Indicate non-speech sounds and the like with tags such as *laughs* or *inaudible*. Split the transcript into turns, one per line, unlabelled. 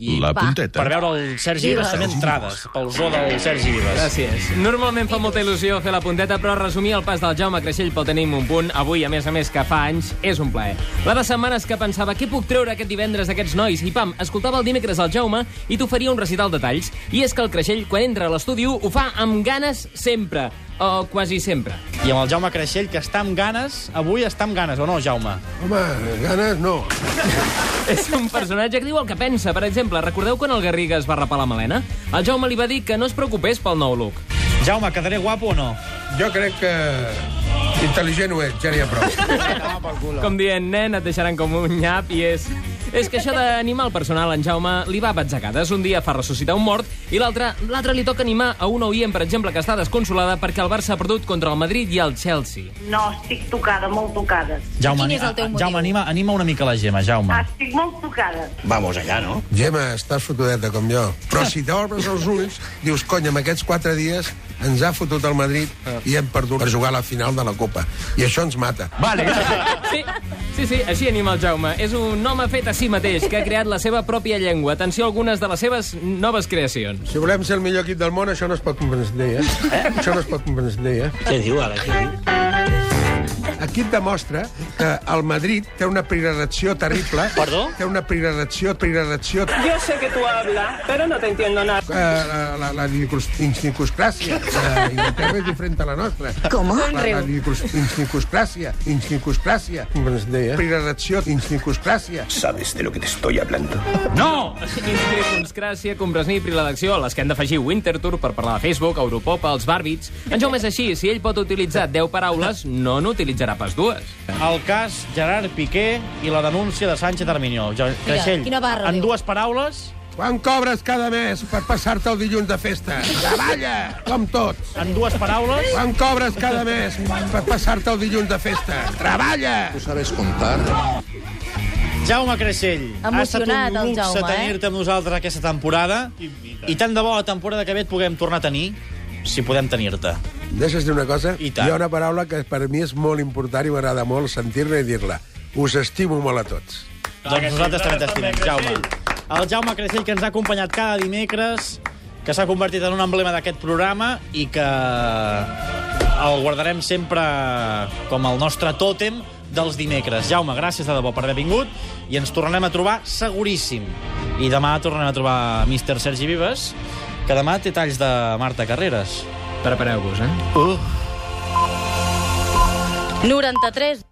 I
La
va.
punteta.
Per veure el Sergi Vives, també entrades pel zoo del Sergi Vives.
Gràcies. Normalment fa molta il·lusió fer la punteta, però resumir el pas del Jaume Creixell pel tenim un punt, avui, a més a més que fa anys, és un plaer. La de setmanes que pensava què puc treure aquest divendres d'aquests nois, i pam, escoltava el dimecres el Jaume i t'oferia un recital de talls. I és que el Creixell, quan entra a l'estudi, ho fa amb ganes sempre, o quasi sempre.
I amb el Jaume Creixell, que està amb ganes, avui està amb ganes, o no, Jaume?
Home, ganes no.
*laughs* És un personatge que diu el que pensa. Per exemple, recordeu quan el Garriga es va rapar la melena? El Jaume li va dir que no es preocupés pel nou look.
Jaume, quedaré guapo o no?
Jo crec que intel·ligent ho ets, ja n'hi ha prou.
Com dient, nen, et deixaran com un nyap i és... És que això d'animar el personal, en Jaume, li va a batzegades. Un dia fa ressuscitar un mort i l'altre l'altre li toca animar a una oient, per exemple, que està desconsolada perquè el Barça ha perdut contra el Madrid i el Chelsea.
No, estic tocada, molt tocada.
Jaume,
Quin és el teu
ani- ah,
motiu?
Jaume anima, anima una mica la Gemma, Jaume.
Estic molt tocada.
Gemma, estàs fotudeta com jo. Però si t'obres els ulls, dius, cony, en aquests quatre dies ens ha fotut el Madrid i hem perdut per jugar a la final de la Copa. I això ens mata.
Sí, sí, sí, així anima el Jaume. És un home fet a si mateix, que ha creat la seva pròpia llengua. Atenció a algunes de les seves noves creacions.
Si volem ser el millor equip del món, això no es pot comprendre, eh? Això no es pot comprendre, eh?
Què diu ara? Què diu?
Aquí et demostra que el Madrid té una prioritat terrible.
Perdó?
Té una prioritat, prioritat... Jo sé que tu hablas, però no t'entiendo nada. Uh, la, la, la nicus- insnicuscràcia. Uh, Inglaterra és diferent a la nostra.
Com?
La, la nicus- insnicuscràcia. Insnicuscràcia. Com es deia? Prioritat, insnicuscràcia.
¿Sabes de lo que te estoy hablando?
No!
Inscripscràcia, Comprasnip i l'elecció, a les que han d'afegir Wintertour per parlar de Facebook, Europop, els bàrbits... En Jaume és així, si ell pot utilitzar 10 paraules, no n'utilitzarà pas dues.
El cas Gerard Piqué i la denúncia de Sánchez Armiñó. Jo, Creixell,
quina barra,
en
diu.
dues paraules,
Quan cobres cada mes per passar-te el dilluns de festa? Treballa, com tots.
en dues paraules...
Quan cobres cada mes per passar-te el dilluns de festa? Treballa!
Jaume Creixell, ha estat
Emocionat,
un
el
luxe
Jaume, eh?
tenir-te amb nosaltres aquesta temporada i tant de bo la temporada que ve et puguem tornar a tenir, si podem tenir-te.
Deixes dir una cosa?
I tant.
Hi ha una paraula que per mi és molt important i m'agrada molt sentir-la i dir-la. Us estimo molt a tots.
Doncs nosaltres també t'estimem, Jaume. El Jaume Creixell, que ens ha acompanyat cada dimecres, que s'ha convertit en un emblema d'aquest programa i que el guardarem sempre com el nostre tòtem dels dimecres. Jaume, gràcies de debò per haver vingut i ens tornarem a trobar seguríssim. I demà tornarem a trobar Mr. Sergi Vives, que demà té talls de Marta Carreras.
Prepareu-vos, eh?
93